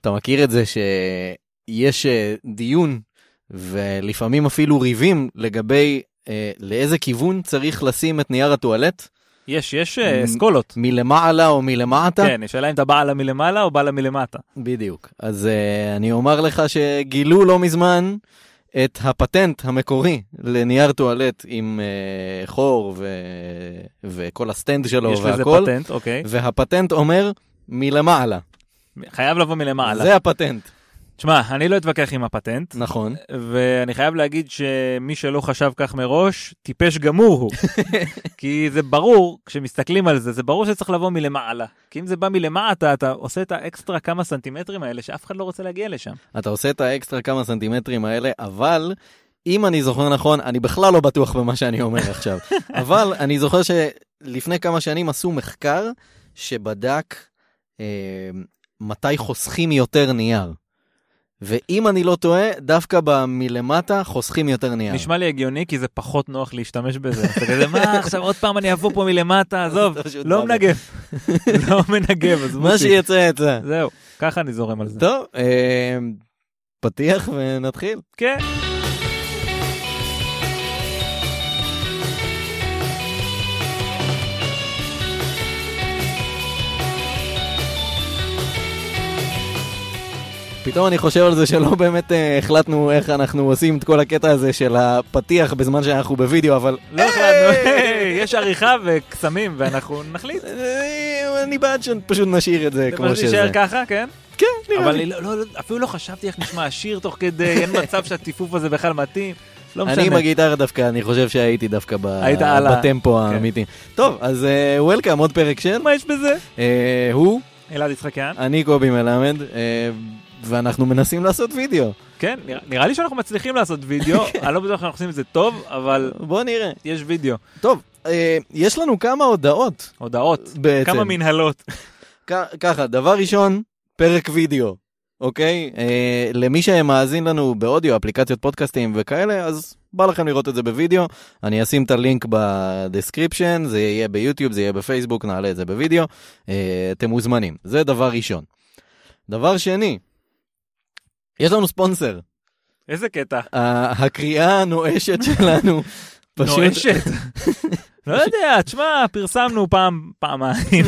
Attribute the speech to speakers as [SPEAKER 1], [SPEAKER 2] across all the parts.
[SPEAKER 1] אתה מכיר את זה שיש אה, דיון ולפעמים אפילו ריבים לגבי אה, לאיזה כיוון צריך לשים את נייר הטואלט,
[SPEAKER 2] יש, יש
[SPEAKER 1] מ-
[SPEAKER 2] אה, אסכולות.
[SPEAKER 1] מלמעלה או מלמטה?
[SPEAKER 2] כן, השאלה אם אתה בא לה מלמעלה או בא לה מלמטה.
[SPEAKER 1] בדיוק. אז אה, אני אומר לך שגילו לא מזמן את הפטנט המקורי לנייר טואלט עם אה, חור ו... וכל הסטנד שלו
[SPEAKER 2] יש לזה
[SPEAKER 1] לא, והכל,
[SPEAKER 2] פטנט, אוקיי.
[SPEAKER 1] והפטנט אומר מלמעלה.
[SPEAKER 2] חייב לבוא מלמעלה.
[SPEAKER 1] זה הפטנט.
[SPEAKER 2] תשמע, אני לא אתווכח עם הפטנט,
[SPEAKER 1] נכון.
[SPEAKER 2] ואני חייב להגיד שמי שלא חשב כך מראש, טיפש גמור הוא. כי זה ברור, כשמסתכלים על זה, זה ברור שצריך לבוא מלמעלה. כי אם זה בא מלמטה, אתה עושה את האקסטרה כמה סנטימטרים האלה, שאף אחד לא רוצה להגיע לשם.
[SPEAKER 1] אתה עושה את האקסטרה כמה סנטימטרים האלה, אבל אם אני זוכר נכון, אני בכלל לא בטוח במה שאני אומר עכשיו, אבל אני זוכר שלפני כמה שנים עשו מחקר שבדק אה, מתי חוסכים יותר נייר. ואם אני לא טועה, דווקא במלמטה חוסכים יותר נייר.
[SPEAKER 2] נשמע לי הגיוני, כי זה פחות נוח להשתמש בזה. אתה כזה, מה, עכשיו עוד פעם אני אבוא פה מלמטה, עזוב,
[SPEAKER 1] פשוט
[SPEAKER 2] לא
[SPEAKER 1] מה זה.
[SPEAKER 2] מנגב. לא מנגב, עזבו
[SPEAKER 1] מה
[SPEAKER 2] אותי.
[SPEAKER 1] שיצא יצא.
[SPEAKER 2] זהו, ככה אני זורם על זה.
[SPEAKER 1] טוב, אה, פתיח ונתחיל.
[SPEAKER 2] כן.
[SPEAKER 1] פתאום אני חושב על זה שלא באמת אה, החלטנו איך אנחנו עושים את כל הקטע הזה של הפתיח בזמן שאנחנו בווידאו, אבל...
[SPEAKER 2] לא החלטנו, היי, יש עריכה וקסמים, ואנחנו נחליט.
[SPEAKER 1] אה, אני בעד שפשוט נשאיר את זה
[SPEAKER 2] זה
[SPEAKER 1] כמו
[SPEAKER 2] פשוט
[SPEAKER 1] שזה.
[SPEAKER 2] יישאר ככה, כן?
[SPEAKER 1] כן, נראה
[SPEAKER 2] אבל
[SPEAKER 1] לי.
[SPEAKER 2] אני לא- לא- לא- אפילו לא חשבתי איך נשמע השיר תוך כדי, אין מצב שהטיפוף הזה בכלל מתאים. לא
[SPEAKER 1] אני עם
[SPEAKER 2] משנה.
[SPEAKER 1] הגיטרה דווקה, אני חושב שהייתי דווקא ב-
[SPEAKER 2] היית על ה-
[SPEAKER 1] בטמפו
[SPEAKER 2] כן.
[SPEAKER 1] האמיתי. טוב, אז וולקאם, עוד פרק של...
[SPEAKER 2] מה יש בזה?
[SPEAKER 1] אה, הוא,
[SPEAKER 2] אלעד יצחקיאן?
[SPEAKER 1] אני קובי מלמד, אה, ואנחנו מנסים לעשות וידאו.
[SPEAKER 2] כן, נראה- נראה לי שאנחנו מצליחים לעשות וידאו, אני לא בטוח שאנחנו עושים את זה טוב, אבל
[SPEAKER 1] בוא נראה.
[SPEAKER 2] יש וידאו.
[SPEAKER 1] טוב, אה, יש לנו כמה הודעות
[SPEAKER 2] הודעות.
[SPEAKER 1] בעצם.
[SPEAKER 2] כמה מנהלות.
[SPEAKER 1] כ- ככה, דבר ראשון, פרק וידאו, אוקיי? אה, למי שמאזין לנו באודיו, אפליקציות פודקאסטים וכאלה, אז בא לכם לראות את זה בווידאו. אני אשים את הלינק בדסקריפשן, זה יהיה ביוטיוב, זה יהיה בפייסבוק, נעלה את זה בווידאו. אה, אתם מוזמנים. זה דבר ראשון. דבר שני, יש לנו ספונסר.
[SPEAKER 2] איזה קטע.
[SPEAKER 1] ה- הקריאה הנואשת שלנו, פשוט...
[SPEAKER 2] נואשת. לא יודע, תשמע, פרסמנו פעם, פעמיים.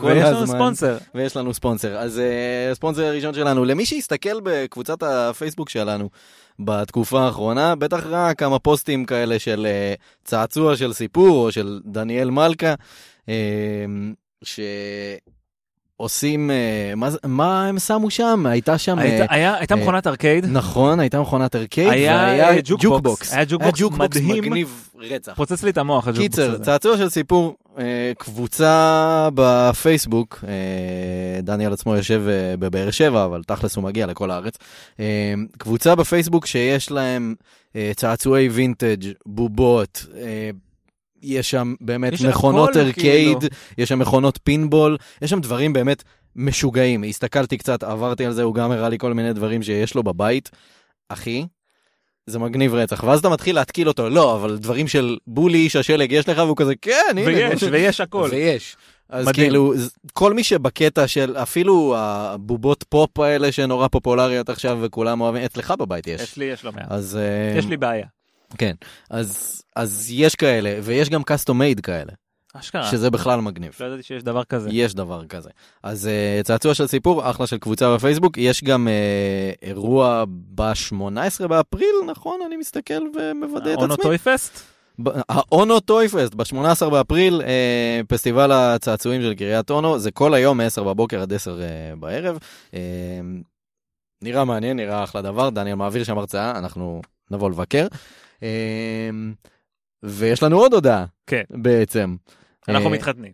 [SPEAKER 1] כל
[SPEAKER 2] ויש לנו
[SPEAKER 1] הזמן.
[SPEAKER 2] ספונסר.
[SPEAKER 1] ויש לנו ספונסר. אז uh, הספונסר הראשון שלנו, למי שיסתכל בקבוצת הפייסבוק שלנו בתקופה האחרונה, בטח ראה כמה פוסטים כאלה של uh, צעצוע של סיפור או של דניאל מלכה, uh, שעושים, uh, מה, זה- מה הם שמו שם? הייתה שם...
[SPEAKER 2] הייתה-
[SPEAKER 1] אה,
[SPEAKER 2] היה- הייתה
[SPEAKER 1] אה,
[SPEAKER 2] מכונת ארקייד.
[SPEAKER 1] נכון, הייתה מכונת ארקייד,
[SPEAKER 2] היה,
[SPEAKER 1] והיה
[SPEAKER 2] אה, ג'וקבוקס. היה
[SPEAKER 1] היה
[SPEAKER 2] ג'וקבוקס
[SPEAKER 1] ג'וקבוקס
[SPEAKER 2] מדהים.
[SPEAKER 1] מגניב רצח.
[SPEAKER 2] פוצץ לי את המוח הג'וקבוקס
[SPEAKER 1] קיצר,
[SPEAKER 2] הזה.
[SPEAKER 1] צעצוע של סיפור, אה, קבוצה בפייסבוק, אה, דניאל עצמו יושב אה, בבאר שבע, אבל תכלס הוא מגיע לכל הארץ. אה, קבוצה בפייסבוק שיש להם אה, צעצועי וינטג', בובות, אה, יש שם באמת
[SPEAKER 2] יש שם
[SPEAKER 1] מכונות
[SPEAKER 2] הכל,
[SPEAKER 1] ארקייד,
[SPEAKER 2] כאילו.
[SPEAKER 1] יש שם מכונות פינבול, יש שם דברים באמת משוגעים. הסתכלתי קצת, עברתי על זה, הוא גם הראה לי כל מיני דברים שיש לו בבית. אחי, זה מגניב רצח. ואז אתה מתחיל להתקיל אותו, לא, אבל דברים של בולי איש השלג יש לך, והוא כזה, כן, הנה.
[SPEAKER 2] ויש,
[SPEAKER 1] בוא-
[SPEAKER 2] ויש הכל.
[SPEAKER 1] ויש. אז
[SPEAKER 2] מדהים.
[SPEAKER 1] כאילו, ז- כל מי שבקטע של אפילו הבובות פופ האלה שנורא פופולריות עכשיו וכולם אוהבים, אצלך בבית
[SPEAKER 2] יש
[SPEAKER 1] יש.
[SPEAKER 2] לי, יש לא מעט.
[SPEAKER 1] אז אה,
[SPEAKER 2] יש לי בעיה.
[SPEAKER 1] אז אז יש כאלה, ויש גם custom made כאלה,
[SPEAKER 2] אשכרה.
[SPEAKER 1] שזה בכלל מגניב.
[SPEAKER 2] לא ידעתי שיש דבר כזה.
[SPEAKER 1] יש דבר כזה. אז אה, צעצוע של סיפור, אחלה של קבוצה בפייסבוק. יש גם אה, אירוע ב-18 באפריל, נכון? אני מסתכל ומוודא את
[SPEAKER 2] אונו
[SPEAKER 1] עצמי.
[SPEAKER 2] טוי פסט?
[SPEAKER 1] ב- האונו טויפסט, ב-18 באפריל, אה, פסטיבל הצעצועים של קריית אונו, זה כל היום מ-10 בבוקר עד 10 אה, בערב. אה, נראה מעניין, נראה אחלה דבר, דניאל מעביר שם הרצאה, אנחנו נבוא לבקר. אה, ויש לנו עוד הודעה,
[SPEAKER 2] כן.
[SPEAKER 1] בעצם.
[SPEAKER 2] אנחנו
[SPEAKER 1] אה,
[SPEAKER 2] מתחתנים.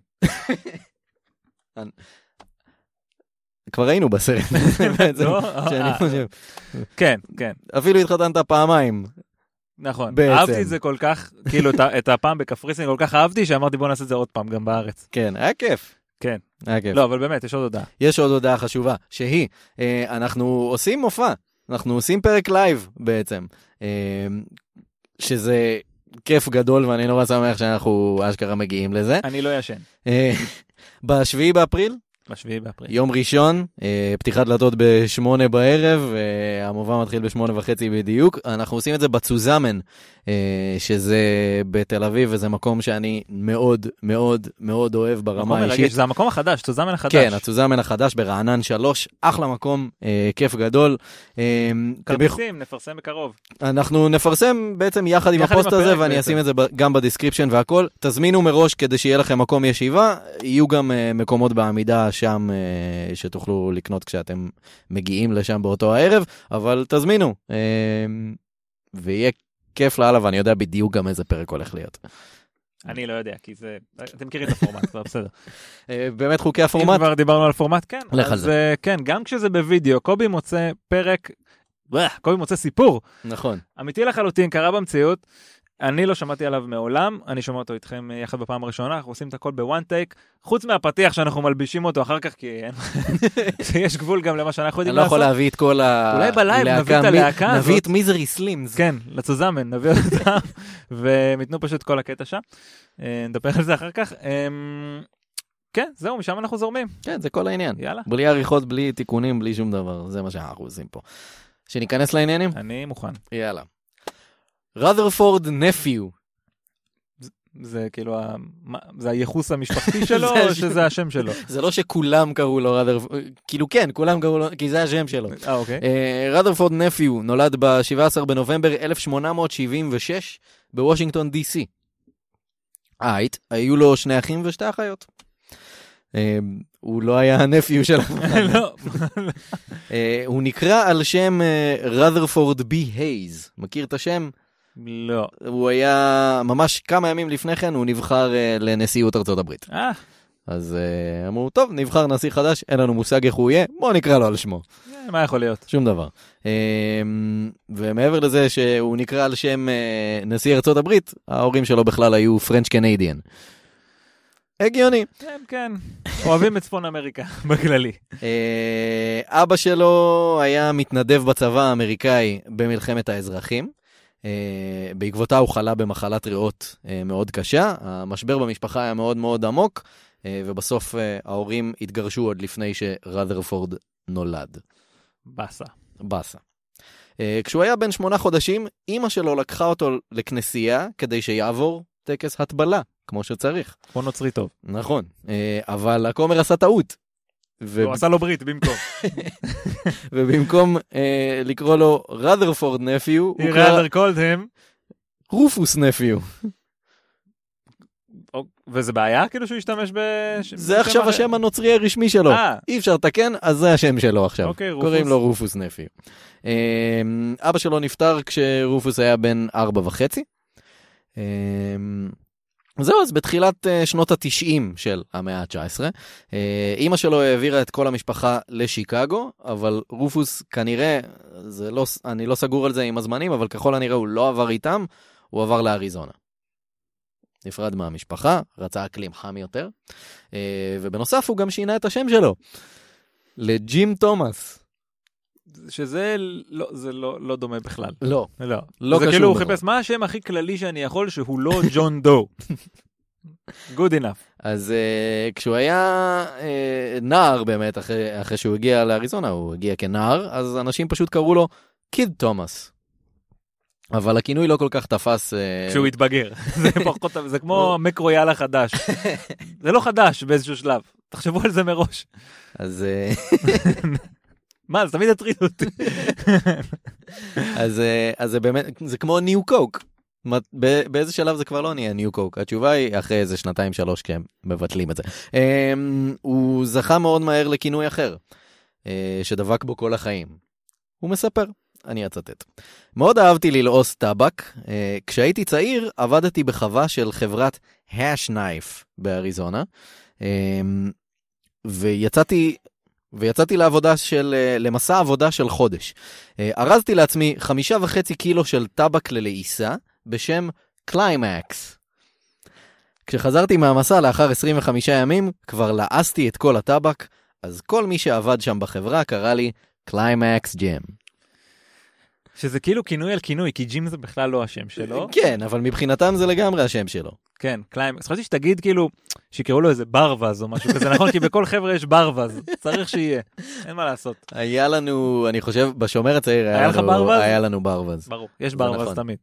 [SPEAKER 1] כבר היינו בסרט, בעצם,
[SPEAKER 2] לא?
[SPEAKER 1] שאני
[SPEAKER 2] אה,
[SPEAKER 1] חושב.
[SPEAKER 2] כן, כן,
[SPEAKER 1] אפילו התחתנת פעמיים.
[SPEAKER 2] נכון.
[SPEAKER 1] בעצם.
[SPEAKER 2] אהבתי את זה כל כך, כאילו את ה- את הפעם בקפריסין כל כך אהבתי, שאמרתי בוא נעשה את זה עוד פעם גם בארץ.
[SPEAKER 1] כן, היה כיף.
[SPEAKER 2] כן.
[SPEAKER 1] היה כיף.
[SPEAKER 2] לא, אבל באמת, יש עוד הודעה.
[SPEAKER 1] יש עוד הודעה חשובה, שהיא, אה, אנחנו עושים מופע, אנחנו עושים פרק לייב בעצם, אה, שזה כיף גדול ואני נורא שמח שאנחנו אשכרה מגיעים לזה.
[SPEAKER 2] אני לא ישן.
[SPEAKER 1] אה, בשביעי באפריל,
[SPEAKER 2] ב-7 באפריל.
[SPEAKER 1] יום ראשון, אה, פתיחת דלתות ב-8 בערב, אה, המופע מתחיל ב-8 וחצי בדיוק. אנחנו עושים את זה בצוזמן, אה, שזה בתל אביב, וזה מקום שאני מאוד מאוד מאוד אוהב ברמה
[SPEAKER 2] מקום מרגש,
[SPEAKER 1] האישית.
[SPEAKER 2] זה המקום החדש, צוזמן החדש.
[SPEAKER 1] כן, הצוזמן החדש ברענן 3, אחלה מקום, אה, כיף גדול. אה, תביכו-
[SPEAKER 2] כרטיסים, נפרסם בקרוב.
[SPEAKER 1] אנחנו נפרסם בעצם יחד עם
[SPEAKER 2] יחד עם
[SPEAKER 1] הפוסט הזה,
[SPEAKER 2] הפרק
[SPEAKER 1] ואני
[SPEAKER 2] בעצם.
[SPEAKER 1] אשים את זה ב- גם בדיסקריפשן והכל. תזמינו מראש כדי שיהיה לכם מקום ישיבה, יהיו גם אה, מקומות בעמידה שם אה, שתוכלו לקנות כשאתם מגיעים לשם באותו הערב, אבל תזמינו, אה, ויהיה כיף לאללה, ואני יודע בדיוק גם איזה פרק הולך להיות.
[SPEAKER 2] אני לא יודע, כי זה... אתם מכירים את הפורמט, כבר בסדר.
[SPEAKER 1] אה, באמת חוקי
[SPEAKER 2] אם
[SPEAKER 1] הפורמט,
[SPEAKER 2] כבר דיברנו על פורמט, כן.
[SPEAKER 1] לך על
[SPEAKER 2] אז אה, כן, גם כשזה בווידאו, קובי מוצא פרק... וואח, קובי מוצא סיפור.
[SPEAKER 1] נכון.
[SPEAKER 2] אמיתי לחלוטין, קרה במציאות. אני לא שמעתי עליו מעולם, אני שומע אותו איתכם אה, יחד בפעם הראשונה, אנחנו עושים את הכל בוואן טייק, חוץ מהפתיח שאנחנו מלבישים אותו אחר כך, כי אין... יש גבול גם למה שאנחנו
[SPEAKER 1] אני
[SPEAKER 2] יודעים
[SPEAKER 1] לא יכול
[SPEAKER 2] לעשות.
[SPEAKER 1] להביא את כל ה...
[SPEAKER 2] אולי בלייב נביא
[SPEAKER 1] להקה,
[SPEAKER 2] את
[SPEAKER 1] מי-
[SPEAKER 2] הלהקה הזאת.
[SPEAKER 1] נביא את מיזרי סלימס.
[SPEAKER 2] כן, לצוזמן, נביא אותם, והם ייתנו פשוט כל הקטע שם. אה, נדבר על זה אחר כך. אמ, כן, זהו, משם אנחנו זורמים,
[SPEAKER 1] כן, זה כל העניין.
[SPEAKER 2] יאללה.
[SPEAKER 1] בלי עריכות, בלי תיקונים, בלי שום דבר, זה מה שאנחנו עושים פה. שניכנס לעניינים?
[SPEAKER 2] אני מוכן.
[SPEAKER 1] יאללה. רת'רפורד נפיו.
[SPEAKER 2] זה כאילו, ה- מה- זה הייחוס המשפחתי שלו,
[SPEAKER 1] זה
[SPEAKER 2] או
[SPEAKER 1] השם.
[SPEAKER 2] שזה השם שלו?
[SPEAKER 1] זה לא שכולם קראו לו רת'רפורד, כאילו כן, כולם קראו לו, כי זה השם שלו.
[SPEAKER 2] אה, אוקיי.
[SPEAKER 1] רת'רפורד נפיו נולד ב-17 בנובמבר 1876 בוושינגטון די.סי. הייט, היו לו שני אחים ושתי אחיות. אה, הוא לא היה הנפיו של אף אחד.
[SPEAKER 2] לא,
[SPEAKER 1] אה, הוא נקרא על שם אה, רת'רפורד בי הייז. מכיר את השם?
[SPEAKER 2] לא.
[SPEAKER 1] הוא היה ממש כמה ימים לפני כן, הוא נבחר אה, לנשיאות ארצות הברית.
[SPEAKER 2] אה,
[SPEAKER 1] אז אה, אמרו, טוב, נבחר נשיא חדש, אין לנו מושג איך הוא יהיה, בואו נקרא לו על שמו.
[SPEAKER 2] מה יכול להיות?
[SPEAKER 1] שום דבר. אה, ומעבר לזה שהוא נקרא על שם אה, נשיא ארצות הברית, ההורים שלו בכלל היו פרנץ' קנדיאן. הגיוני.
[SPEAKER 2] כן, כן. אוהבים את צפון אמריקה, בכללי.
[SPEAKER 1] אה, אבא שלו היה מתנדב בצבא האמריקאי במלחמת האזרחים. אה, בעקבותה הוא חלה במחלת ריאות אה, מאוד קשה. המשבר במשפחה היה מאוד מאוד עמוק, אה, ובסוף אה, ההורים התגרשו עוד לפני שרת'רפורד נולד.
[SPEAKER 2] באסה.
[SPEAKER 1] באסה. אה, כשהוא היה בן שמונה חודשים, אימא שלו לקחה אותו לכנסייה כדי שיעבור טקס הטבלה, כמו שצריך.
[SPEAKER 2] כמו נוצרי טוב.
[SPEAKER 1] נכון. אה, אבל הכומר עשה טעות. ו-
[SPEAKER 2] הוא עשה לו ברית במקום.
[SPEAKER 1] ובמקום אה, לקרוא לו רת'רפורד נפיו, הוא
[SPEAKER 2] He
[SPEAKER 1] קרא
[SPEAKER 2] rather called him.
[SPEAKER 1] רופוס נפיו.
[SPEAKER 2] או- וזה בעיה כאילו שהוא השתמש ב...
[SPEAKER 1] זה עכשיו
[SPEAKER 2] אחר?
[SPEAKER 1] השם הנוצרי הרשמי שלו.
[SPEAKER 2] אה,
[SPEAKER 1] אי אפשר לתקן, אז זה השם שלו עכשיו.
[SPEAKER 2] אוקיי, רופוס.
[SPEAKER 1] קוראים לו רופוס נפיו. אה, אבא שלו נפטר כשרופוס היה בן ארבע וחצי. אה, זהו, אז בתחילת אה, שנות התשעים של המאה ה-19, אה, אימא שלו העבירה את כל המשפחה לשיקגו, אבל רופוס כנראה, זה לא, אני לא סגור על זה עם הזמנים, אבל ככל הנראה הוא לא עבר איתם, הוא עבר לאריזונה. נפרד מהמשפחה, רצה אקלים חם יותר, אה, ובנוסף הוא גם שינה את השם שלו. לג'ים תומאס.
[SPEAKER 2] שזה לא, זה לא, לא דומה בכלל.
[SPEAKER 1] לא.
[SPEAKER 2] לא.
[SPEAKER 1] לא
[SPEAKER 2] זה
[SPEAKER 1] קשור
[SPEAKER 2] כאילו הוא
[SPEAKER 1] בכלל.
[SPEAKER 2] חיפש מה השם הכי כללי שאני יכול שהוא לא ג'ון דו. Good enough.
[SPEAKER 1] אז uh, כשהוא היה uh, נער באמת, אחרי, אחרי שהוא הגיע לאריזונה, הוא הגיע כנער, אז אנשים פשוט קראו לו קיד תומאס. אבל הכינוי לא כל כך תפס. אה,
[SPEAKER 2] כשהוא התבגר. זה פחות, זה כמו מקרויאל החדש. זה לא חדש באיזשהו שלב. תחשבו על זה מראש.
[SPEAKER 1] אז, אה,
[SPEAKER 2] מה, זה תמיד הטריד אותי.
[SPEAKER 1] אז, אה, אז זה באמת, זה כמו ניו קוק. מה- ב- באיזה שלב זה כבר לא נהיה ניו קוק? התשובה היא אחרי איזה שנתיים שלוש כי הם מבטלים את זה. אה, הוא זכה מאוד מהר לכינוי אחר, אה, שדבק בו כל החיים. הוא מספר, אני אצטט. מאוד אהבתי ללעוס טבק. אה, כשהייתי צעיר עבדתי בחווה של חברת האש נייף באריזונה, אה, ויצאתי, ויצאתי לעבודה של, אה, למסע עבודה של חודש. אה, ארזתי לעצמי חמישה וחצי קילו של טבק ללעיסה בשם קליימקס. כשחזרתי מהמסע לאחר 25 ימים, כבר לעסתי את כל הטבק, אז כל מי שעבד שם בחברה קרא לי קליימקס ג'ם.
[SPEAKER 2] שזה כאילו כינוי על כינוי, כי ג'ים זה בכלל לא השם שלו.
[SPEAKER 1] כן, אבל מבחינתם זה לגמרי השם שלו.
[SPEAKER 2] כן, קליימקס. חשבתי שתגיד כאילו, שיקראו לו איזה ברווז או משהו כזה, נכון? כי בכל חבר'ה יש ברווז, צריך שיהיה, אין מה לעשות.
[SPEAKER 1] היה לנו, אני חושב, בשומר הצעיר היה,
[SPEAKER 2] היה לך
[SPEAKER 1] לנו-
[SPEAKER 2] ברווז?
[SPEAKER 1] היה לנו ברווז.
[SPEAKER 2] ברור, יש
[SPEAKER 1] זה
[SPEAKER 2] ברווז
[SPEAKER 1] נכון.
[SPEAKER 2] תמיד.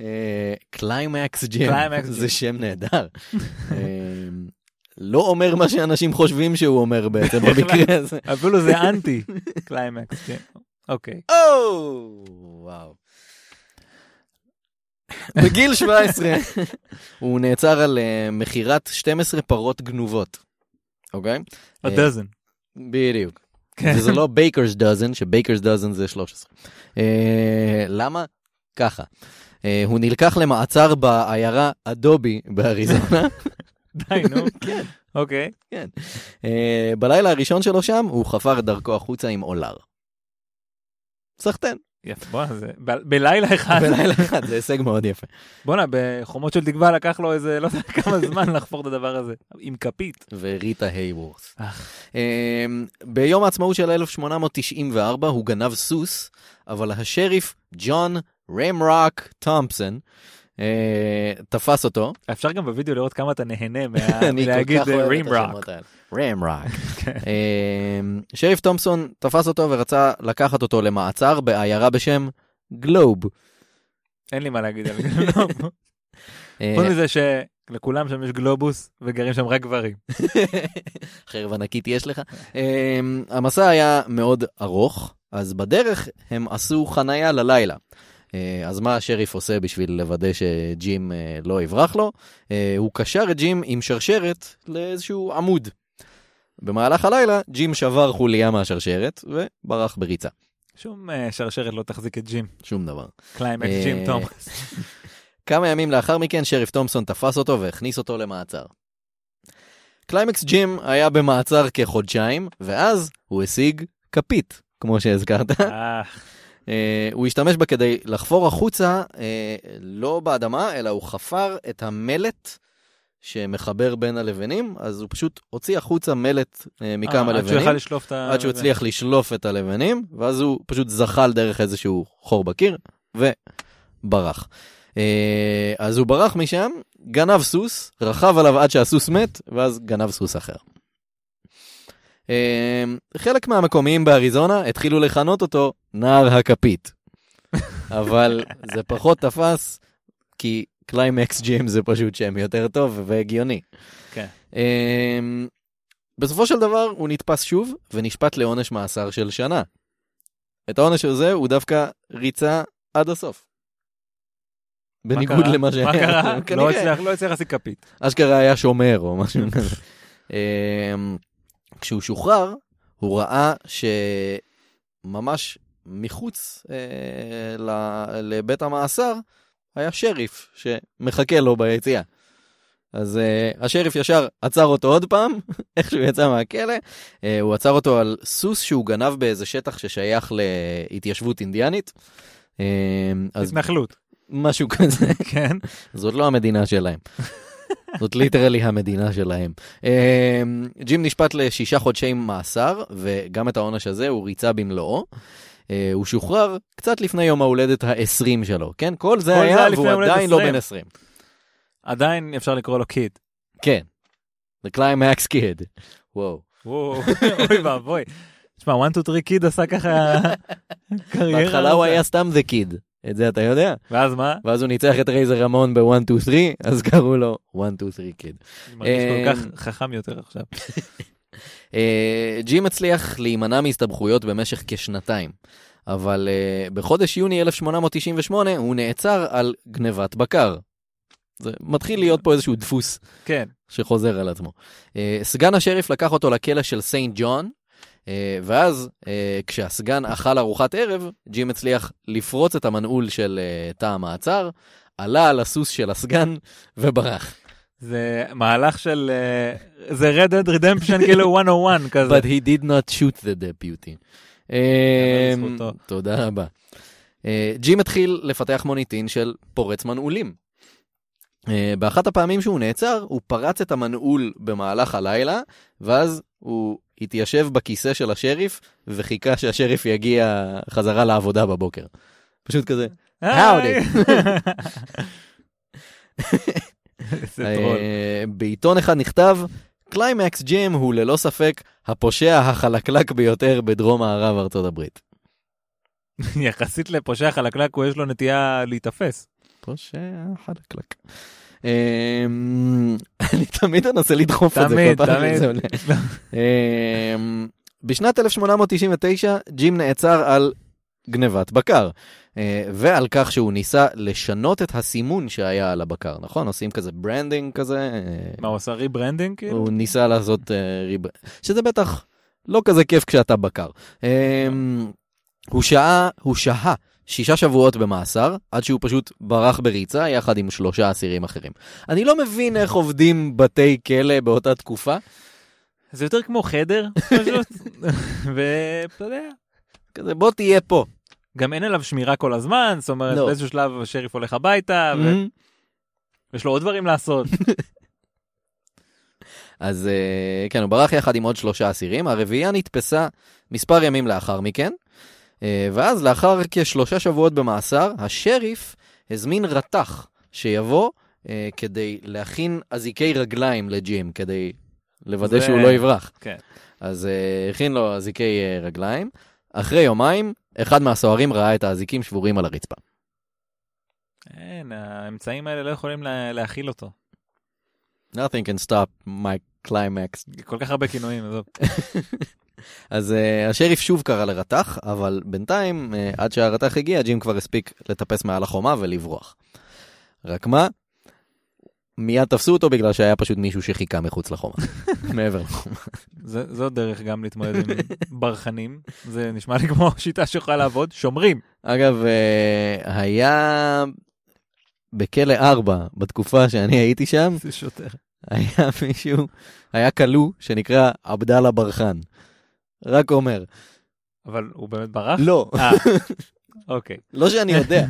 [SPEAKER 1] אה, קליימקס ג'ם,
[SPEAKER 2] קליימקס ג'ם.
[SPEAKER 1] זה שם נהדר. אה, לא אומר מה שאנשים חושבים שהוא אומר בעצם במקרה הזה.
[SPEAKER 2] אפילו זה אנטי קליימקס, כן. אוקיי.
[SPEAKER 1] או, Oh, וואו. בגיל 17 הוא נעצר על אה, מכירת 12 פרות גנובות, אוקיי?
[SPEAKER 2] A
[SPEAKER 1] אה,
[SPEAKER 2] dozen.
[SPEAKER 1] בדיוק.
[SPEAKER 2] כן.
[SPEAKER 1] וזה לא בייקרס דזן, שבייקרס דזן זה 13. אה, למה? ככה. אה, הוא נלקח למעצר בעיירה אדובי באריזונה.
[SPEAKER 2] די, נו. כן. אוקיי.
[SPEAKER 1] אה, בלילה הראשון שלו שם, הוא חפר דרכו החוצה עם אולר. סחטיין,
[SPEAKER 2] יפה, בואנה, זה... ב- בלילה אחד.
[SPEAKER 1] בלילה אחד, זה הישג מאוד יפה.
[SPEAKER 2] בואנה, בחומות של תקווה לקח לו איזה, לא יודע כמה זמן לחפור את הדבר הזה. עם כפית.
[SPEAKER 1] וריטה הייוורת.
[SPEAKER 2] אך.
[SPEAKER 1] אמ, ביום העצמאות של 1894 הוא גנב סוס, אבל השריף ג'ון רמרוק תומפסון אה, תפס אותו.
[SPEAKER 2] אפשר גם בווידאו לראות כמה אתה נהנה מה-
[SPEAKER 1] אני כל
[SPEAKER 2] מלהגיד אה,
[SPEAKER 1] כך אוהב את
[SPEAKER 2] רימרוק.
[SPEAKER 1] השמות האלה. רמרוק. אמ, שריף תומפסון תפס אותו ורצה לקחת אותו למעצר בעיירה בשם גלוב.
[SPEAKER 2] אין לי מה להגיד על גלובוס.
[SPEAKER 1] אה,
[SPEAKER 2] חוץ מזה שלכולם שם יש גלובוס וגרים שם רק גברים.
[SPEAKER 1] חרב ענקית יש לך. אמ, המסע היה מאוד ארוך, אז בדרך הם עשו חנייה ללילה. אה, אז מה השריף עושה בשביל לוודא שג'ים אה, לא יברח לו? אה, הוא קשר את ג'ים עם שרשרת לאיזשהו עמוד. במהלך הלילה, ג'ים שבר חוליה מהשרשרת וברח בריצה.
[SPEAKER 2] שום אה, שרשרת לא תחזיק את ג'ים.
[SPEAKER 1] שום דבר.
[SPEAKER 2] קליימקס
[SPEAKER 1] אה,
[SPEAKER 2] ג'ים תום.
[SPEAKER 1] כמה ימים לאחר מכן שריף תומפסון תפס אותו והכניס אותו למעצר. קליימקס ג'ים היה במעצר כחודשיים, ואז הוא השיג כפית, כמו שהזכרת.
[SPEAKER 2] אה,
[SPEAKER 1] אה, הוא השתמש בה כדי לחפור החוצה, אה, לא באדמה, אלא הוא חפר את המלט שמחבר בין הלבנים, אז הוא פשוט הוציא החוצה מלט אה, מכמה
[SPEAKER 2] אה, עד שהוא
[SPEAKER 1] לבנים.
[SPEAKER 2] יכל לשלוף את ה...
[SPEAKER 1] עד שהוא הצליח לשלוף את הלבנים, ואז הוא פשוט זחל דרך איזשהו חור בקיר, וברח. אה, אז הוא ברח משם, גנב סוס, רכב עליו עד שהסוס מת, ואז גנב סוס אחר. אה, חלק מהמקומיים באריזונה התחילו לכנות אותו נער הכפית, אבל זה פחות תפס, כי קליימקס ג'ים זה פשוט שם יותר טוב והגיוני.
[SPEAKER 2] כן.
[SPEAKER 1] אמ, בסופו של דבר הוא נתפס שוב ונשפט לעונש מאסר של שנה. את העונש הזה הוא דווקא ריצה עד הסוף.
[SPEAKER 2] מה
[SPEAKER 1] בניגוד
[SPEAKER 2] קרה?
[SPEAKER 1] למה שהיה.
[SPEAKER 2] מה קרה?
[SPEAKER 1] הוא
[SPEAKER 2] לא
[SPEAKER 1] כנראה-
[SPEAKER 2] הצליח- לא הצליח להשיג כפית.
[SPEAKER 1] אשכרה היה שומר או משהו כזה. אמ, כשהוא שוחרר, הוא ראה שממש מחוץ אה, ל- לבית המאסר היה שריף שמחכה לו ביציאה. אז uh, השריף ישר עצר אותו עוד פעם, איך שהוא יצא מהכלא. Uh, הוא עצר אותו על סוס שהוא גנב באיזה שטח ששייך להתיישבות אינדיאנית. Uh, אז
[SPEAKER 2] התנחלות.
[SPEAKER 1] משהו כזה.
[SPEAKER 2] כן.
[SPEAKER 1] זאת לא המדינה שלהם. זאת ליטרלי המדינה שלהם. אה, ג'ים נשפט לשישה חודשי מאסר, וגם את העונש הזה הוא ריצה במלואו. אה, הוא שוחרר קצת לפני יום ההולדת ה-20 שלו, כן? כל זה
[SPEAKER 2] כל זה
[SPEAKER 1] היה,
[SPEAKER 2] היה לפני
[SPEAKER 1] והוא
[SPEAKER 2] יום הולדת
[SPEAKER 1] עדיין לא
[SPEAKER 2] 20.
[SPEAKER 1] בן 20.
[SPEAKER 2] עדיין אפשר לקרוא לו קיד.
[SPEAKER 1] כן. The Climax Kid. וואו.
[SPEAKER 2] וואו, אוי ואבוי. תשמע, 1, 2, 3 קיד עשה ככה קריירה.
[SPEAKER 1] בהתחלה הוא היה סתם The Kid, את זה אתה יודע.
[SPEAKER 2] ואז מה?
[SPEAKER 1] ואז הוא ניצח את רייזר רמון ב-1-2-3, אז קראו לו 1-2-3 Kid.
[SPEAKER 2] אני מרגיש
[SPEAKER 1] אה,
[SPEAKER 2] כל כך חכם יותר עכשיו.
[SPEAKER 1] אה, ג'ים הצליח להימנע מהסתבכויות במשך כשנתיים, אבל אה, בחודש יוני 1898 הוא נעצר על גנבת בקר. זה מתחיל להיות פה איזשהו דפוס
[SPEAKER 2] כן,
[SPEAKER 1] שחוזר על עצמו. אה, סגן השריף לקח אותו לכלא של סיינט ג'ון, אה, ואז אה, כשהסגן אכל ארוחת ערב, ג'ים הצליח לפרוץ את המנעול של אה, תא המעצר, עלה על הסוס של הסגן וברח.
[SPEAKER 2] זה מהלך של... אה, זה Red Dead Redemption כאילו 101 כזה.
[SPEAKER 1] But he did not shoot the deputy. אה,
[SPEAKER 2] לא לזכותו.
[SPEAKER 1] תודה רבה. אה, ג'ים התחיל לפתח מוניטין של פורץ מנעולים. אה, באחת הפעמים שהוא נעצר, הוא פרץ את המנעול במהלך הלילה, ואז הוא התיישב בכיסא של השריף, וחיכה שהשריף יגיע חזרה לעבודה בבוקר. פשוט כזה.
[SPEAKER 2] היי.
[SPEAKER 1] Howdy.
[SPEAKER 2] זה טרול.
[SPEAKER 1] אה, בעיתון אחד נכתב, קליימקס ג'ים הוא ללא ספק הפושע החלקלק ביותר בדרום מערב ארצות הברית. אה,
[SPEAKER 2] יחסית לפושע חלקלק, הוא יש לו נטייה להיתפס.
[SPEAKER 1] פושע חלקלק. אה, אני תמיד אנסה לדחוף את זה.
[SPEAKER 2] תמיד,
[SPEAKER 1] כל פעם
[SPEAKER 2] תמיד.
[SPEAKER 1] שזה עולה. אה, בשנת 1899 ג'ים נעצר על גנבת בקר, אה, ועל כך שהוא ניסה לשנות את הסימון שהיה על הבקר, נכון? עושים כזה ברנדינג כזה. אה,
[SPEAKER 2] מה, הוא עשה ריברנדינג כאילו?
[SPEAKER 1] הוא ניסה לעשות אה, ריב... שזה בטח לא כזה כיף כשאתה בקר. אה, הוא שעה, הוא שהה שישה שבועות במאסר, עד שהוא פשוט ברח בריצה יחד עם שלושה אסירים אחרים. אני לא מבין איך עובדים בתי כלא באותה תקופה.
[SPEAKER 2] זה יותר כמו חדר, פשוט. ואתה יודע,
[SPEAKER 1] כזה בוא תהיה פה.
[SPEAKER 2] גם אין עליו שמירה כל הזמן, זאת אומרת,
[SPEAKER 1] לא. Mm-hmm.
[SPEAKER 2] באיזשהו שלב השריף הולך הביתה,
[SPEAKER 1] מהמם.
[SPEAKER 2] ויש לו עוד דברים לעשות.
[SPEAKER 1] אז אה, כן, הוא ברח יחד עם עוד שלושה אסירים, הרביעייה נתפסה מספר ימים לאחר מכן, אה, ואז לאחר כשלושה שבועות במאסר, השריף הזמין רתח שיבוא אה, כדי להכין אזיקי רגליים לג'ים, כדי לוודא
[SPEAKER 2] זה-
[SPEAKER 1] שהוא לא יברח.
[SPEAKER 2] כן.
[SPEAKER 1] אז אה, הכין לו אזיקי אה, רגליים. אחרי יומיים, אחד מהסוהרים ראה את האזיקים שבורים על הרצפה.
[SPEAKER 2] אין, האמצעים האלה לא יכולים לה- להכיל אותו.
[SPEAKER 1] Nothing can stop my climax
[SPEAKER 2] כל כך הרבה כינויים, עזוב.
[SPEAKER 1] אז uh, השריף שוב קרא לרתח, אבל בינתיים, uh, עד שהרתח הגיע, ג'ים כבר הספיק לטפס מעל החומה ולברוח. רק מה? מיד תפסו אותו בגלל שהיה פשוט מישהו שחיכה מחוץ לחומה. מעבר לחומה.
[SPEAKER 2] זה- זו דרך גם להתמודד עם ברחנים, זה נשמע לי כמו שיטה שיכולה לעבוד, שומרים.
[SPEAKER 1] אגב, uh, היה בכלא 4, בתקופה שאני הייתי שם,
[SPEAKER 2] זה שוטר.
[SPEAKER 1] היה מישהו, היה כלוא שנקרא עבדאללה ברחן. רק אומר,
[SPEAKER 2] אבל הוא באמת ברח?
[SPEAKER 1] לא,
[SPEAKER 2] אה, אוקיי.
[SPEAKER 1] לא שאני יודע.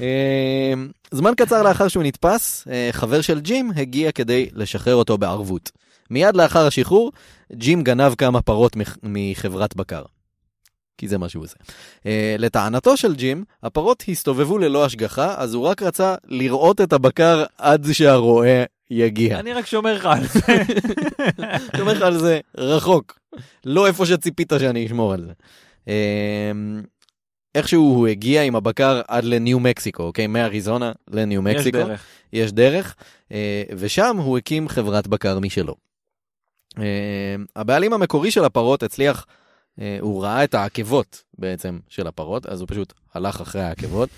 [SPEAKER 1] אה, זמן קצר לאחר שהוא נתפס, אה, חבר של ג'ים הגיע כדי לשחרר אותו בערבות. מיד לאחר השחרור, ג'ים גנב כמה פרות מח- מחברת בקר. כי זה מה שהוא עושה. אה, לטענתו של ג'ים, הפרות הסתובבו ללא השגחה, אז הוא רק רצה לראות את הבקר עד שהרועה יגיע.
[SPEAKER 2] אני רק שומר לך על זה.
[SPEAKER 1] אני אומר לך על זה רחוק, לא איפה שציפית שאני אשמור על זה. אמ, איכשהו הוא הגיע עם הבקר עד לניו מקסיקו, אוקיי? מאריזונה לניו
[SPEAKER 2] יש
[SPEAKER 1] מקסיקו.
[SPEAKER 2] דרך.
[SPEAKER 1] יש דרך, אה, ושם הוא הקים חברת בקר משלו. אה, הבעלים המקורי של הפרות הצליח, אה, הוא ראה את העקבות בעצם של הפרות, אז הוא פשוט הלך אחרי העקבות,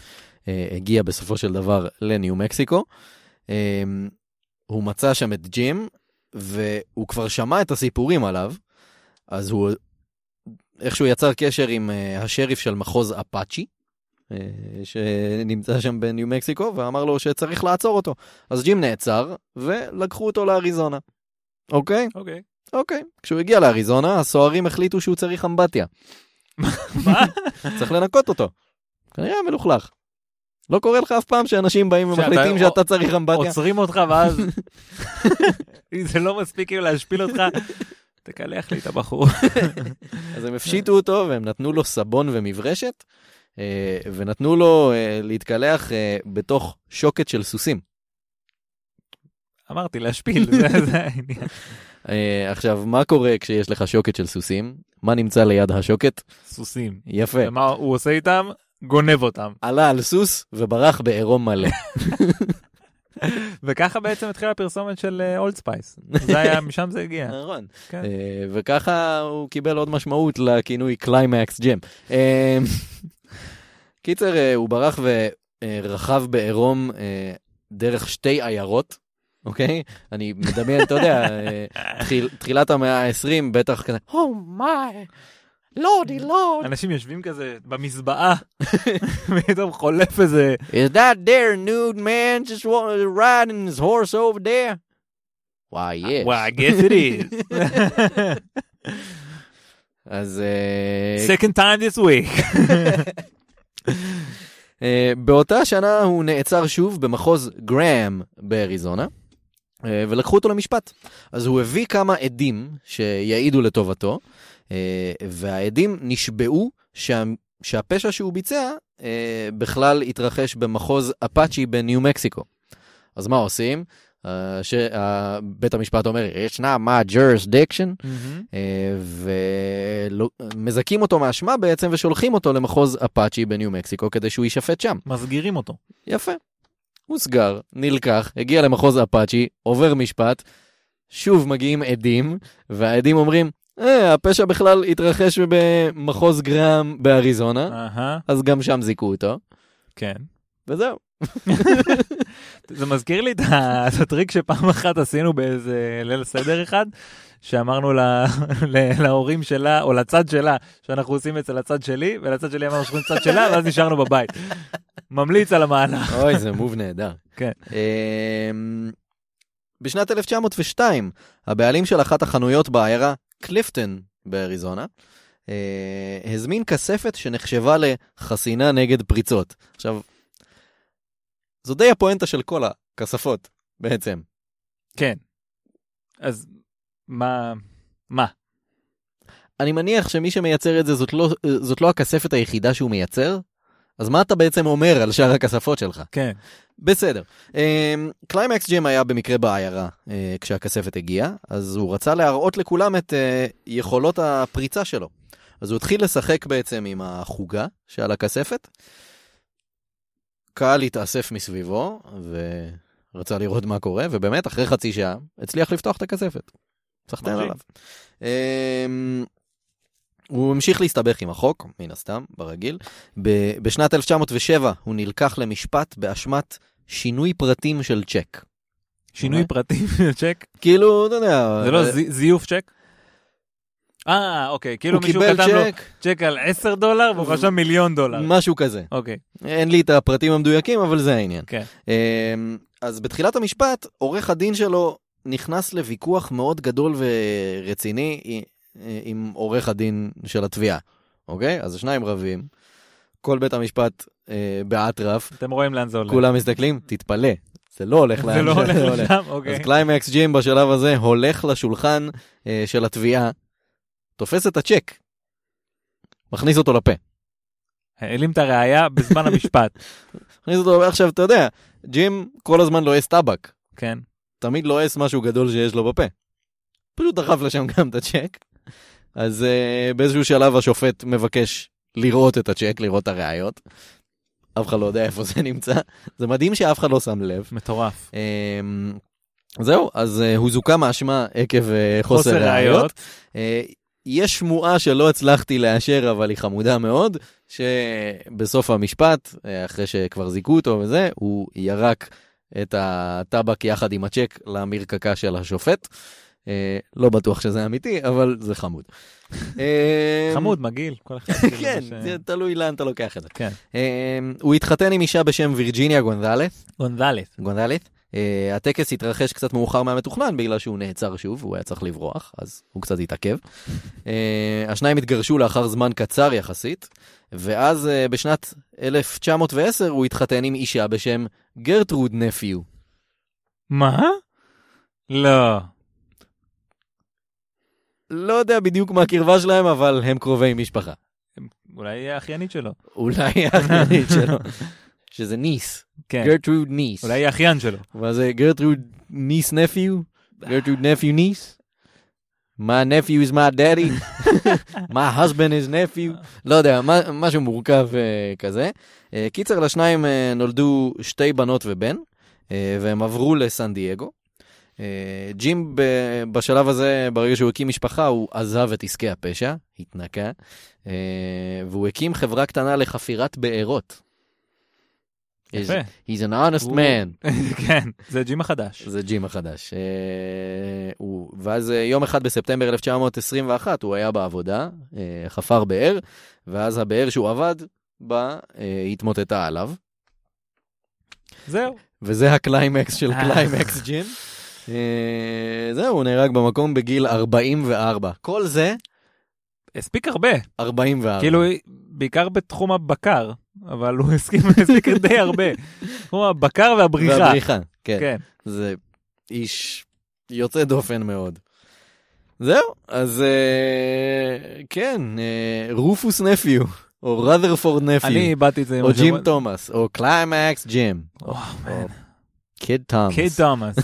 [SPEAKER 1] אה, הגיע בסופו של דבר לניו מקסיקו. אה, הוא מצא שם את ג'ים, והוא כבר שמע את הסיפורים עליו, אז הוא איכשהו יצר קשר עם אה, השריף של מחוז אפאצ'י, אה, שנמצא שם בניו מקסיקו, ואמר לו שצריך לעצור אותו. אז ג'ים נעצר, ולקחו אותו לאריזונה. אוקיי?
[SPEAKER 2] אוקיי.
[SPEAKER 1] אוקיי. כשהוא הגיע לאריזונה, הסוהרים החליטו שהוא צריך אמבטיה.
[SPEAKER 2] מה?
[SPEAKER 1] צריך לנקות אותו. כנראה מלוכלך. לא קורה לך אף פעם שאנשים באים
[SPEAKER 2] שאתה-
[SPEAKER 1] ומחליטים שאתה צריך אמבטיה?
[SPEAKER 2] עוצרים אותך ואז... זה לא מספיק כאילו להשפיל אותך. תקלח לי את הבחור.
[SPEAKER 1] אז הם הפשיטו אותו והם נתנו לו סבון ומברשת, אה, ונתנו לו אה, להתקלח אה, בתוך שוקת של סוסים.
[SPEAKER 2] אמרתי להשפיל, זה- זה העניין.
[SPEAKER 1] אה, עכשיו, מה קורה כשיש לך שוקת של סוסים? מה נמצא ליד השוקת?
[SPEAKER 2] סוסים.
[SPEAKER 1] יפה.
[SPEAKER 2] ומה הוא עושה איתם? גונב אותם.
[SPEAKER 1] עלה על סוס וברח בעירום מלא.
[SPEAKER 2] וככה בעצם התחילה הפרסומת של אולד ספייס. זה היה, משם זה הגיע.
[SPEAKER 1] נכון.
[SPEAKER 2] כן.
[SPEAKER 1] אה, וככה הוא קיבל עוד משמעות לכינוי קליימקס ג'ם. אה, קיצר, אה, הוא ברח ורכב בעירום אה, דרך שתי עיירות, אוקיי? אני מדמיין, אתה יודע, אה, תחיל- תחילת המאה ה-20, בטח כזה, "Oh או מיי, לורדי לורד.
[SPEAKER 2] אנשים יושבים כזה במזבעה, ופתאום חולף איזה...
[SPEAKER 1] Is that there nude man just wa- riding his horse over there? Why, yes.
[SPEAKER 2] וואי, guess it is.
[SPEAKER 1] אז... אה,
[SPEAKER 2] Second time this week.
[SPEAKER 1] אה, באותה שנה הוא נעצר שוב במחוז גראם באריזונה, אה, ולקחו אותו למשפט. אז הוא הביא כמה עדים שיעידו לטובתו, אה, והעדים נשבעו שה... שהפשע שהוא ביצע אה, בכלל התרחש במחוז אפאצ'י בניו מקסיקו. אז מה עושים? אה, שבית המשפט אומר, ישנה מה jurisdiction,
[SPEAKER 2] מהמם.
[SPEAKER 1] אה, ומזכים אותו מאשמה בעצם ושולחים אותו למחוז אפאצ'י בניו מקסיקו כדי שהוא יישפט שם.
[SPEAKER 2] מסגירים אותו.
[SPEAKER 1] יפה. הוסגר, נלקח, הגיע למחוז אפאצ'י, עובר משפט, שוב מגיעים עדים, והעדים אומרים, אה, הפשע בכלל התרחש במחוז גרם באריזונה,
[SPEAKER 2] אהה,
[SPEAKER 1] אז גם שם זיכו אותו,
[SPEAKER 2] כן.
[SPEAKER 1] וזהו.
[SPEAKER 2] זה מזכיר לי את ה- את הטריק שפעם אחת עשינו באיזה ליל סדר אחד, שאמרנו לה- ל- להורים שלה, או לצד שלה, שאנחנו עושים אצל הצד שלי, ולצד שלי אמרנו שאנחנו עושים לצד שלה, ואז נשארנו בבית. ממליץ על המהלך.
[SPEAKER 1] אוי, זה מוב נהדר.
[SPEAKER 2] כן.
[SPEAKER 1] אמ, בשנת 1902, הבעלים של אחת החנויות בעיירה, קליפטון באריזונה, אה, הזמין כספת שנחשבה לחסינה נגד פריצות. עכשיו, זו די הפואנטה של כל הכספות, בעצם.
[SPEAKER 2] כן. אז מה... מה?
[SPEAKER 1] אני מניח שמי שמייצר את זה, זאת לא, זאת לא הכספת היחידה שהוא מייצר, אז מה אתה בעצם אומר על שאר הכספות שלך?
[SPEAKER 2] כן.
[SPEAKER 1] בסדר. קליימקס ג'ים היה במקרה בעיירה אה, כשהכספת הגיעה, אז הוא רצה להראות לכולם את אה, יכולות הפריצה שלו. אז הוא התחיל לשחק בעצם עם החוגה שעל הכספת. קהל התאסף מסביבו ורצה לראות מה קורה, ובאמת, אחרי חצי שעה, הצליח לפתוח את הכספת. סחטיין
[SPEAKER 2] מרשים.
[SPEAKER 1] עליו. אמ, הוא המשיך להסתבך עם החוק, מן הסתם, ברגיל. ב- בשנת 1907 הוא נלקח למשפט באשמת שינוי פרטים של צ'ק.
[SPEAKER 2] שינוי
[SPEAKER 1] אולי.
[SPEAKER 2] פרטים צ'ק?
[SPEAKER 1] כאילו, אתה יודע...
[SPEAKER 2] זה לא זי- זיוף צ'ק? אה, אוקיי, כאילו
[SPEAKER 1] הוא
[SPEAKER 2] מישהו
[SPEAKER 1] קיבל
[SPEAKER 2] כתב לו
[SPEAKER 1] צ'ק, אה,
[SPEAKER 2] צ'ק על 10 דולר והוא חשב מיליון דולר.
[SPEAKER 1] משהו כזה.
[SPEAKER 2] אוקיי,
[SPEAKER 1] אין לי את הפרטים המדויקים, אבל זה העניין.
[SPEAKER 2] כן.
[SPEAKER 1] אמ, אז בתחילת המשפט, עורך הדין שלו נכנס לוויכוח מאוד גדול ורציני עם- עם עורך הדין של התביעה, אוקיי? אז השניים רבים, כל בית המשפט אה, באטרף,
[SPEAKER 2] אתם רואים לאן זה הולך.
[SPEAKER 1] כולם מסתכלים, תתפלא, זה לא הולך לאן
[SPEAKER 2] זה לא
[SPEAKER 1] שזה
[SPEAKER 2] הולך לשם, אוקיי.
[SPEAKER 1] אז קליימקס ג'ים בשלב הזה הולך לשולחן אה, של התביעה, תופס את הצ'ק, מכניס אותו לפה.
[SPEAKER 2] העלים את הראייה בזמן המשפט,
[SPEAKER 1] מכניס אותו לפה, עכשיו אתה יודע, ג'ים כל הזמן לועס טבק,
[SPEAKER 2] כן.
[SPEAKER 1] תמיד לועס משהו גדול שיש לו בפה. פשוט דחף לשם גם את הצ'ק. אז uh, באיזשהו שלב השופט מבקש לראות את הצ'ק, לראות את הראיות. אף אחד לא יודע איפה זה נמצא. זה מדהים שאף אחד לא שם לב.
[SPEAKER 2] מטורף.
[SPEAKER 1] Um, זהו, אז uh, הוא זוכה מאשמה עקב uh, חוסר, חוסר ראיות. אה, יש שמועה שלא הצלחתי לאשר, אבל היא חמודה מאוד, שבסוף המשפט, אה, אחרי שכבר זיכו אותו וזה, הוא ירק את הטבק יחד עם הצ'ק למרקקה של השופט. אה, לא בטוח שזה אמיתי, אבל זה חמוד. אה,
[SPEAKER 2] חמוד, מגעיל. כל אחד כאילו
[SPEAKER 1] כן,
[SPEAKER 2] ש-
[SPEAKER 1] זה תלוי לאן אתה לוקח את זה.
[SPEAKER 2] כן.
[SPEAKER 1] אה, הוא התחתן עם אישה בשם וירג'יניה גונזלס,
[SPEAKER 2] גונזלס.
[SPEAKER 1] גונזלס. אה, הטקס התרחש קצת מאוחר מהמתוכנן בגלל שהוא נעצר שוב, הוא היה צריך לברוח, אז הוא קצת התעכב. אה, השניים התגרשו לאחר זמן קצר יחסית, ואז אה, בשנת 1910 הוא התחתן עם אישה בשם גרטרוד נפיו.
[SPEAKER 2] מה? לא.
[SPEAKER 1] לא יודע בדיוק מה הקרבה שלהם, אבל הם קרובי משפחה.
[SPEAKER 2] אולי היא האחיינית שלו.
[SPEAKER 1] אולי האחרונית שלו, שזה ניס,
[SPEAKER 2] כן.
[SPEAKER 1] גרטרוד ניס.
[SPEAKER 2] אולי היא האחיין שלו.
[SPEAKER 1] מה זה גרטרוד ניס נפיו? גרטרוד נפיו ניס? My nephew is my daddy, my husband is nephew, לא יודע, מה- משהו מורכב אה, כזה. אה, קיצר, לשניים אה, נולדו שתי בנות ובן, אה, והם עברו לסן דייגו. אה, ג'ים ב- בשלב הזה, ברגע שהוא הקים משפחה, הוא עזב את עסקי הפשע, התנקה, אה, והוא הקים חברה קטנה לחפירת בארות.
[SPEAKER 2] יפה.
[SPEAKER 1] He's- He's an honest
[SPEAKER 2] הוא-
[SPEAKER 1] man.
[SPEAKER 2] כן. זה ג'ים החדש.
[SPEAKER 1] זה ג'ים החדש. אה, הוא, ואז אה, יום אחד בספטמבר 1921 הוא היה בעבודה, אה, חפר באר, ואז הבאר שהוא עבד בה אה, התמוטטה עליו.
[SPEAKER 2] זהו.
[SPEAKER 1] וזה הקליימקס של
[SPEAKER 2] אה.
[SPEAKER 1] קליימקס ג'ים. אה, זהו, הוא נהרג במקום בגיל 44. כל זה
[SPEAKER 2] הספיק הרבה.
[SPEAKER 1] 44.
[SPEAKER 2] כאילו, בעיקר בתחום הבקר, אבל הוא הסכים, הספיק די הרבה. תחום הבקר והבריחה.
[SPEAKER 1] והבריחה, כן.
[SPEAKER 2] כן.
[SPEAKER 1] זה איש יוצא דופן מאוד. זהו, אז אה, כן, אה, רופוס נפיו, או רת'רפורד
[SPEAKER 2] אני
[SPEAKER 1] נפיו,
[SPEAKER 2] איבדתי את זה. עם
[SPEAKER 1] או
[SPEAKER 2] השמות.
[SPEAKER 1] ג'ים תומאס, או קליימקס ג'ים,
[SPEAKER 2] וואו,
[SPEAKER 1] או קיד תומאס.
[SPEAKER 2] כן, קיי תומאס.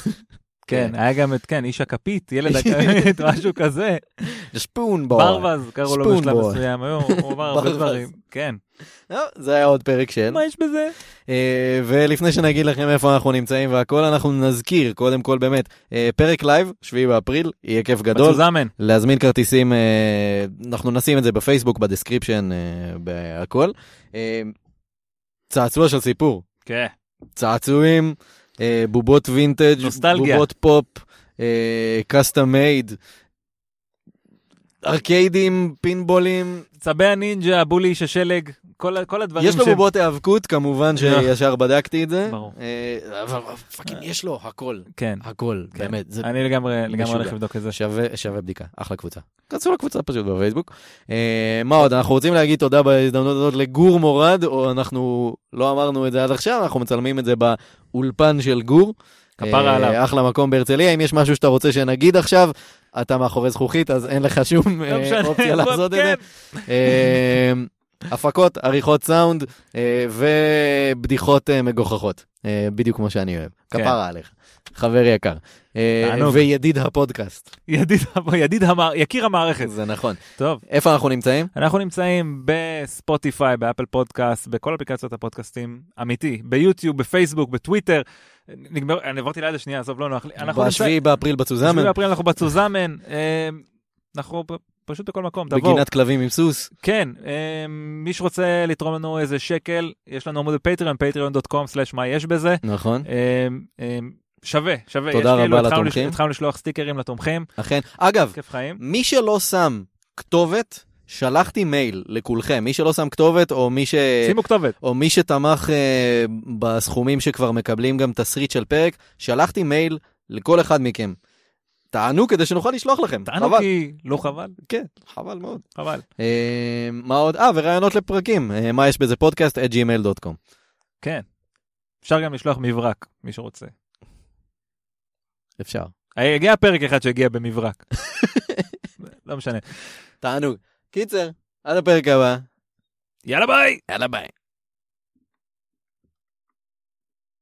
[SPEAKER 2] כן, היה גם את, כן, איש הכפית, ילד הכפית, משהו כזה.
[SPEAKER 1] שפונבול.
[SPEAKER 2] ברווז, קראו לו בשלב
[SPEAKER 1] ספונבול.
[SPEAKER 2] מסוים, היום הוא אמר הרבה
[SPEAKER 1] ברווז. כן.
[SPEAKER 2] דברים. כן.
[SPEAKER 1] זה היה עוד פרק של.
[SPEAKER 2] מה יש בזה?
[SPEAKER 1] אה, ולפני שנגיד לכם איפה אנחנו נמצאים והכל, אנחנו נזכיר, קודם כל באמת, אה, פרק לייב, 7 באפריל, יהיה כיף גדול.
[SPEAKER 2] בצוזמן.
[SPEAKER 1] להזמין כרטיסים, אה, אנחנו נשים את זה בפייסבוק, בדסקריפשן, אה, בהכל. אה, צעצוע של סיפור,
[SPEAKER 2] כן.
[SPEAKER 1] צעצועים, אה, בובות וינטג',
[SPEAKER 2] נוסטלגיה.
[SPEAKER 1] בובות פופ, אה, קאסטום מייד, ארקיידים, פינבולים,
[SPEAKER 2] צבי הנינג'ה, הבולי איש השלג, כל ה- כל הדברים
[SPEAKER 1] יש לו בובות היאבקות, כמובן שישר בדקתי את זה.
[SPEAKER 2] אה. ברור.
[SPEAKER 1] אה, אבל פאקינג יש לו הכל,
[SPEAKER 2] כן,
[SPEAKER 1] הכל,
[SPEAKER 2] כן.
[SPEAKER 1] באמת, זה
[SPEAKER 2] אני לגמרי לגמרי
[SPEAKER 1] משוגע. אה,
[SPEAKER 2] הולך לבדוק את זה.
[SPEAKER 1] שווה, שווה בדיקה, אחלה קבוצה. כנסו לקבוצה פשוט בפייסבוק. אה, מה עוד, אנחנו רוצים להגיד תודה בהזדמנות הזאת לגור מורד, או אנחנו לא אמרנו את זה עד עכשיו, אנחנו מצלמים את זה באולפן של גור.
[SPEAKER 2] כפרה
[SPEAKER 1] אה,
[SPEAKER 2] עליו.
[SPEAKER 1] אחלה מקום בהרצליה, אם יש משהו שאתה רוצה שנגיד עכשיו, אתה מאחורי זכוכית, אז אין לך שום אה,
[SPEAKER 2] לא משנה,
[SPEAKER 1] אופציה
[SPEAKER 2] אבל
[SPEAKER 1] לעשות את
[SPEAKER 2] כן.
[SPEAKER 1] זה. אה, הפקות, עריכות סאונד אה, ובדיחות אה, מגוחכות, אה, בדיוק כמו שאני אוהב.
[SPEAKER 2] כן.
[SPEAKER 1] כפרה עליך, חבר יקר. אה,
[SPEAKER 2] תענוג.
[SPEAKER 1] וידיד הפודקאסט,
[SPEAKER 2] ידיד ה- ידיד המע- יקיר המערכת.
[SPEAKER 1] זה נכון.
[SPEAKER 2] טוב.
[SPEAKER 1] איפה אנחנו נמצאים?
[SPEAKER 2] אנחנו נמצאים בספוטיפיי, באפל פודקאסט, בכל אפליקציות הפודקאסטים, אמיתי, ביוטיוב, בפייסבוק, בטוויטר. נגמר, אני עברתי ליד השנייה, עזוב, לא נוח לי. אנחנו
[SPEAKER 1] ב-7 באפריל בצוזמן,
[SPEAKER 2] בשביל באפריל אנחנו בצוזמן, אה, אנחנו פ- פשוט בכל מקום, תבואו.
[SPEAKER 1] בגינת כלבים עם סוס.
[SPEAKER 2] כן, אה, מי שרוצה לתרום לנו איזה שקל, יש לנו עמוד בפטריון, patreon.com/מה יש בזה.
[SPEAKER 1] נכון,
[SPEAKER 2] אה, אה, שווה, שווה.
[SPEAKER 1] תודה
[SPEAKER 2] יש, כאילו,
[SPEAKER 1] רבה
[SPEAKER 2] התחלנו
[SPEAKER 1] לתומכים.
[SPEAKER 2] לש- התחלנו לשלוח סטיקרים לתומכים,
[SPEAKER 1] אכן. אגב,
[SPEAKER 2] כיף חיים.
[SPEAKER 1] מי שלא שם כתובת, שלחתי מייל לכולכם. מי שלא שם כתובת, או מי ש...
[SPEAKER 2] שימו כתובת.
[SPEAKER 1] או מי שתמך אה, בסכומים שכבר מקבלים גם תסריט של פרק, שלחתי מייל לכל אחד מכם. תענו כדי שנוכל לשלוח לכם.
[SPEAKER 2] טענו
[SPEAKER 1] חבל.
[SPEAKER 2] כי לא חבל,
[SPEAKER 1] כן, חבל מאוד.
[SPEAKER 2] חבל.
[SPEAKER 1] אה, מה עוד? אה, ורעיונות לפרקים. אה, מה יש בזה פודקאסט? at gmail.com.
[SPEAKER 2] כן. אפשר גם לשלוח מברק, מי שרוצה.
[SPEAKER 1] אפשר.
[SPEAKER 2] אה, הגיע פרק אחד שהגיע במברק. לא משנה.
[SPEAKER 1] תענוג. קיצר, עד הפרק הבא.
[SPEAKER 2] יאללה ביי!
[SPEAKER 1] יאללה ביי.